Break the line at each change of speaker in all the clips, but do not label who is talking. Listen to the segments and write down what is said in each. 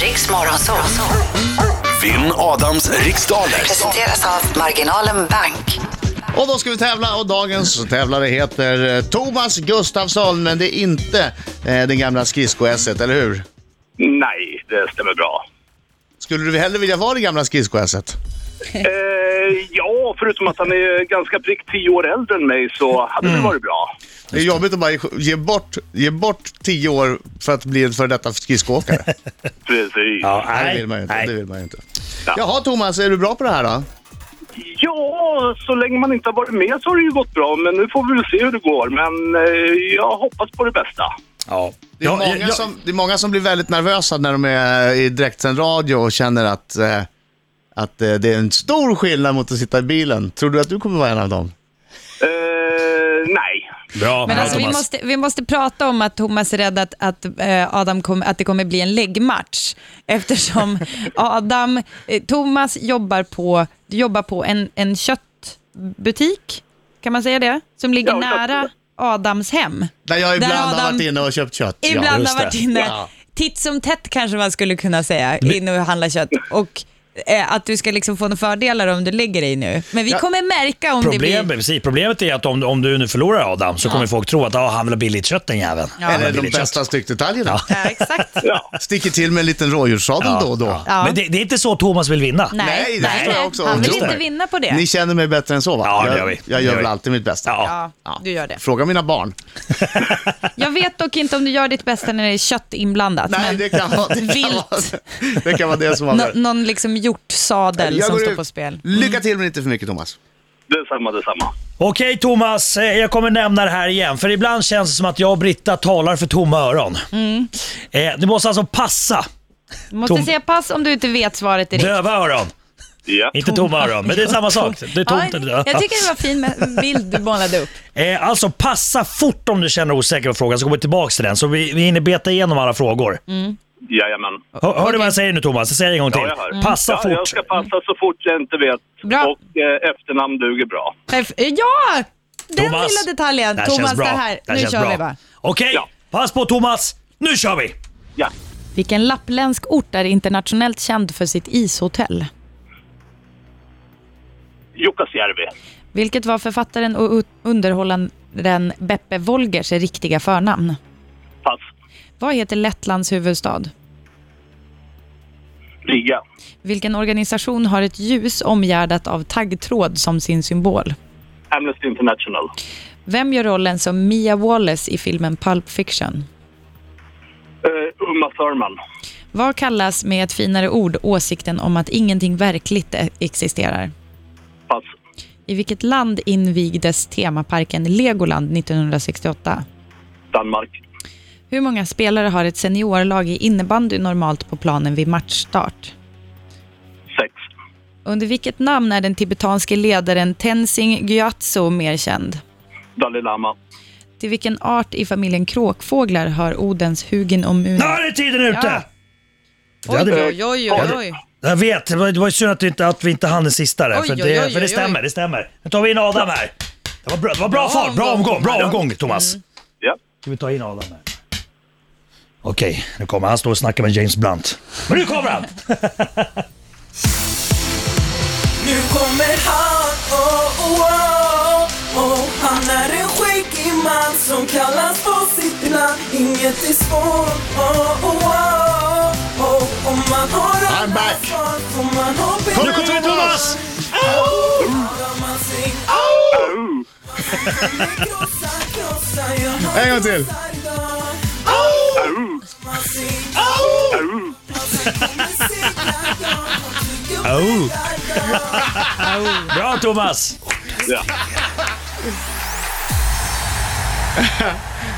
Riks Morgonzoo.
Vinn Adams riksdaler.
Presenteras av Marginalen Bank.
Och då ska vi tävla och dagens tävlare heter eh, Thomas Gustafsson men det är inte eh, den gamla skridsko eller hur?
Nej, det stämmer bra.
Skulle du hellre vilja vara det gamla skridsko
Eh, ja, förutom att han är ganska prick tio år äldre än mig så hade
Mm.
det varit bra.
Det är jobbigt att bara ge- ge bort, ge bort tio år för att bli en före detta skridskoåkare.
Precis. Ja,
Ja,
det
nej,
vill man ju inte.
nej.
Det vill man ju inte.
Ja.
Jaha Thomas, är du bra på det här då?
så länge man inte har varit med så har det ju gått bra, men nu får vi väl se hur det går. Men eh, jag hoppas på det bästa.
Ja.
Det är,
Ja,
många
ja,
Som, det är många som blir väldigt nervösa när de är eh, i direktsänd radio och känner att, eh, att eh, det är en stor skillnad mot att sitta i bilen. Tror du att du kommer vara en av dem?
Eh, nej.
Bra,
Men
bra
alltså, vi,
Thomas.
måste, vi måste prata om att Thomas är rädd att, att, eh, Adam kom, att det kommer bli en läggmatch eftersom Adam, eh, Thomas jobbar på, jobbar på en, en köttbutik, kan man säga det? Som ligger
Ja, jag-
nära Adams hem.
Där jag ibland har
Adam-
varit inne och köpt kött. ja.
Ibland
just
har varit
det.
inne,
Ja.
titt som tätt kanske man skulle kunna säga, inne och handla kött. Och eh, att du ska liksom få några fördelar om du lägger dig nu. Men vi kommer märka om det
Problem,
blir...
precis, problemet är att om, om du nu förlorar Adam så kommer folk tro att ah, han vill ha billigt kött den jäveln.
Ja.
Han vill ha
Eller de
billigt kött.
bästa styckdetaljerna.
Ja, exakt.
Ja.
Sticker till med en liten rådjurssadel då och då.
Ja.
Men det, det är inte så Thomas vill vinna.
Nej, det förstår jag också.
Han vill
Just
inte
det.
vinna på det.
Ni känner mig bättre än så va?
Ja, det
jag,
gör vi.
jag
Det
gör
gör
väl
vi.
alltid mitt bästa.
Ja.
Ja, du gör det.
Fråga mina barn.
Jag vet dock inte om du gör ditt bästa när det är kött inblandat.
Nej,
men
det kan vara det. Kan vara,
Vilt.
det kan vara det som
Nå-
avgör.
någon liksom hjortsadel
Jag
som
går
står
ut.
på spel. Mm.
Lycka till men inte för mycket Thomas.
Detsamma, detsamma.
Okej Thomas, eh, jag kommer nämna det här igen. För ibland känns det som att jag och Britta talar för tomma öron.
Mm.
Eh, du måste alltså passa
Du måste
Tom-
säga pass om du inte vet svaret direkt.
döva öron.
Ja.
Inte tomma öron, men det är samma sak. Det är tomt eller
ja,
döva.
jag tycker det var en fin med- bild du målade upp.
Eh, alltså passa fort om du känner dig osäker på frågan så kommer vi tillbaka till den. Så vi, vi hinner beta igenom alla frågor.
Jajamän.
Hör, hör du vad jag säger nu Thomas? Jag säger det en gång
Ja, jag
till.
hör.
Passa
Mm.
ja, Jag
fort.
ska passa så fort jag inte vet.
Bra.
Och eh, efternamn duger bra.
Perf- Ja! Den
Thomas.
lilla detaljen.
Det här
Thomas,
känns bra.
det här.
här
nu
känns
kör
bra.
vi bara.
Okej,
Ja.
pass på Thomas. Nu kör vi!
Ja.
Vilken lappländsk ort är internationellt känd för sitt ishotell?
Jukkasjärvi.
Vilket var författaren och u- underhållaren Beppe Wolgers riktiga förnamn?
Pass.
Vad heter Lettlands huvudstad?
Riga.
Vilken organisation har ett ljus omgärdat av taggtråd som sin symbol?
Amnesty International.
Vem gör rollen som Mia Wallace i filmen Pulp Fiction?
Eh, Uma Thurman.
Vad kallas med ett finare ord åsikten om att ingenting verkligt e- existerar?
Pass.
I vilket land invigdes temaparken Legoland 1968?
Danmark.
Hur många spelare har ett seniorlag i innebandy normalt på planen vid matchstart?
Sex.
Under vilket namn är den tibetanske ledaren Tenzing Gyatso mer känd?
Dalai Lama.
Till vilken art i familjen kråkfåglar hör Odens Hugin och Munin?
Nu är tiden ute! Det hade vi-
oj,
oj, oj. Jag vet, det var det var ju synd att, vi inte, att vi inte hann den sista där.
Oj,
för,
oj,
det,
oj,
för det
oj,
stämmer, det stämmer. Nu tar vi in Adam här. Det var bra, det var bra fart, bra omgång, bra omgång Thomas.
Mm.
Ja.
Ska vi ta in Adam här? Okej, nu kommer han. Han står och snackar med James Blunt. Men nu kommer han!
Nu kommer han, oh, oh, oh, oh. Han är en skäggig man som kallas på sitt namn Inget är svårt, oh, oh, oh, oh. Om man har
I'm
alla
back.
svar får man ha
Nu
betalt
kommer Thomas!
Klarar man sig med krossa, krossa, jag har
En gång till.
krossar idag. Man ser- Man ser kommer segla, jag har tycker
Oh.
berättar jag.
Bra Thomas!
Ja.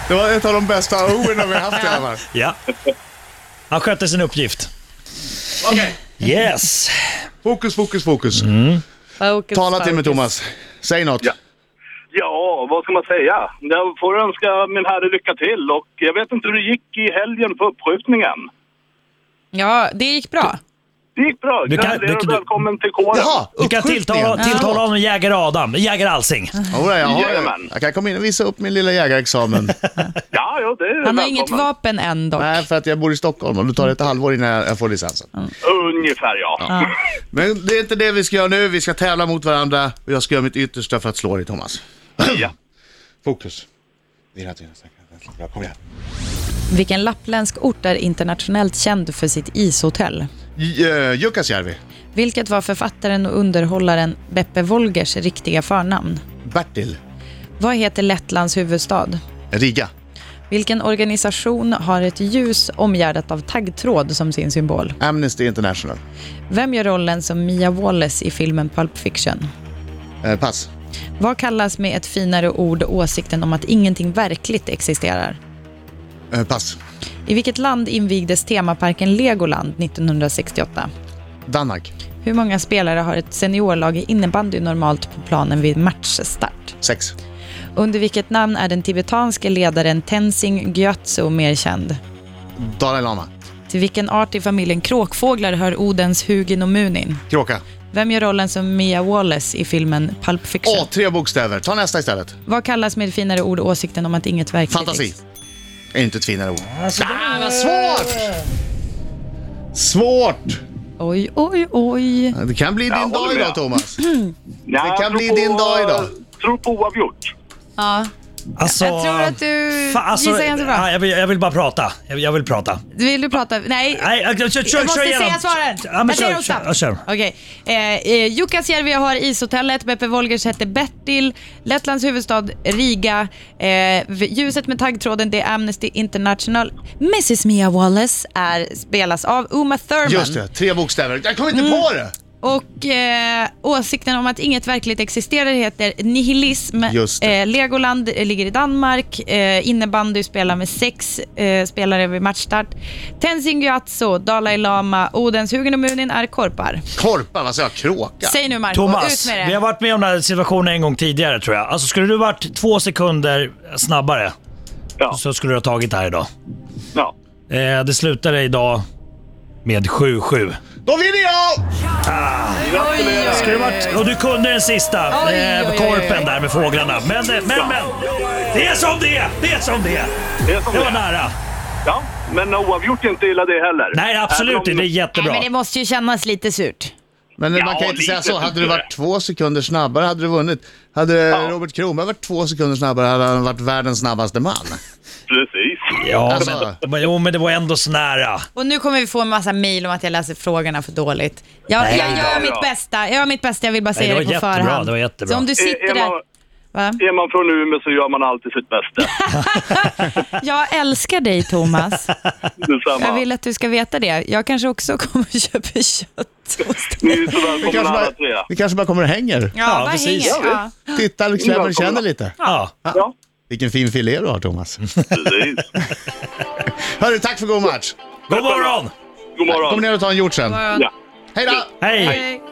Det var ett av de bästa orden vi har haft i alla fall.
Ja. Han skötte sin uppgift.
Okej,
Yes!
fokus, fokus, fokus.
Mm.
Tala till mig Thomas. Säg något.
Ja. Ja, vad ska man säga? Jag får önska min herre lycka till och jag vet inte hur det gick i helgen på uppskjutningen.
Ja, det gick bra.
Det gick bra.
Du kan-
Gratulerar
du-
och
du-
välkommen till kåren.
Jaha,
Du kan
uppskjutningen.
tilltala, tilltala honom Jäger Adam, Jäger Alsing.
Jo, jag, har,
Jajamän.
jag kan komma in och visa upp min lilla jägarexamen.
Ja, ja, det är
Han har
välkommen.
inget vapen än dock.
Nej, för att jag bor i Stockholm och då tar det ett halvår innan jag jag får licensen.
Ungefär, ja.
Men det är inte det vi ska göra nu. Vi ska tävla mot varandra och jag ska göra mitt yttersta för att slå dig, Thomas.
ja.
Fokus. Dina, dina, dina. Bra, Kom igen.
Vilken lappländsk ort är internationellt känd för sitt ishotell?
J- eh, Jukkasjärvi.
Vilket var författaren och underhållaren Beppe Wolgers riktiga förnamn?
Bertil.
Vad heter Lettlands huvudstad?
Riga.
Vilken organisation har ett ljus omgärdat av taggtråd som sin symbol?
Amnesty International.
Vem gör rollen som Mia Wallace i filmen Pulp Fiction?
Eh, pass.
Vad kallas med ett finare ord åsikten om att ingenting verkligt existerar?
Eh, pass.
I vilket land invigdes temaparken Legoland 1968?
Danmark.
Hur många spelare har ett seniorlag i innebandy normalt på planen vid matchstart?
Sex.
Under vilket namn är den tibetanske ledaren Tenzing Gyatso mer känd?
Dalai Lama.
Till vilken art i familjen kråkfåglar hör Odens Hugin och Munin?
Kråka.
Vem gör rollen som Mia Wallace i filmen Pulp Fiction?
Åh, tre bokstäver. Ta nästa istället.
Vad kallas med finare ord åsikten om att inget verkligt
Fantasi.
ex-
Är inte ett finare ord.
Alltså,
Ah, vad svårt! Svårt!
Oj, oj, oj.
Det kan bli din
håller
dag
med.
idag, Thomas.
Nej, jag
kan
tror
bli din dag idag.
tror på oavgjort.
Ja.
alltså,
Jag tror att du
Fan, alltså,
gissar ganska bra.
ja, jag, vill, jag vill bara prata. Jag, jag vill prata.
Vill du prata? Nej.
Nej, jag, jag, kör, kör,
jag måste
kör igenom.
säga svaren.
Ja, men
jag säger
kör,
dem
kör,
snabbt.
ja, kör.
Okej. Eh, eh, Jukkasjärvi har ishotellet, Beppe Wolgers hette Bertil, Lettlands huvudstad Riga, eh, v- ljuset med taggtråden det är Amnesty International. Mrs Mia Wallace är, spelas av Uma Thurman.
Just det, tre bokstäver. Jag kommer inte
Mm.
på det!
Och eh, åsikten om att inget verkligt existerar heter nihilism.
Just det.
Eh, Legoland eh, ligger i Danmark. Eh, innebandy spelar med sex eh, spelare vid matchstart. Tenzin Gyatso, Dalai Lama, Odens Hugin och Munin är korpar.
Korpa, vad sa jag? Kråka?
Säg nu Marco, ut
Thomas,
med
vi
det.
har varit med om den här situationen en gång tidigare tror jag. Alltså skulle du varit två sekunder snabbare
Ja.
så skulle du ha tagit det här idag.
Ja.
Eh, det slutade idag med 7-7.
Då vinner jag!
Skulle du varit, och du kunde den sista,
Oj, oj, oj,
eh,
oj.
korpen där med fåglarna. Men, eh, men, men. Det är som det är! Det är som det är!
Det är som
Det
det
var
är.
nära.
Ja, men oavgjort är inte illa det heller.
Nej, absolut
Även om-
inte. Det är jättebra.
Nej, men det måste ju kännas lite surt.
Men man
Ja,
kan ju inte
lite
säga så. Hade du
tycker
varit två sekunder snabbare hade du vunnit. Hade Robert Kromberg varit två sekunder snabbare hade han varit världens snabbaste man.
Precis.
Ja,
Alltså.
men, men, jo, men det var ändå så nära.
Och nu kommer vi få en massa mejl om att jag läser frågorna för dåligt. Jag, jag gör
Ja,
mitt
ja.
bästa. Jag gör mitt bästa. Jag vill bara
det
säga
var
det, på
jättebra,
förhand.
det var jättebra.
Så om du
Är,
sitter
är, man,
där... Va?
är man från Umeå så gör man alltid sitt bästa.
Jag älskar dig Thomas.
Detsamma.
Jag vill att du ska veta det. Jag kanske också kommer att köpa kött hos
Ni är
dig.
ju så
Vi
välkomna
kanske
alla
bara,
tre.
vi kanske bara kommer och hänger.
Ja, vad
precis.
hänger? Ja.
Tittar, klämmer,
Välkomna.
känner lite.
Ja.
Ja,
Vilken fin filé du har Thomas.
precis.
Hörru, tack för god match.
God morgon!
God
Kom
morgon.
ner och ta en hjort sen.
Ja.
Hej då!
Hej!
Hej.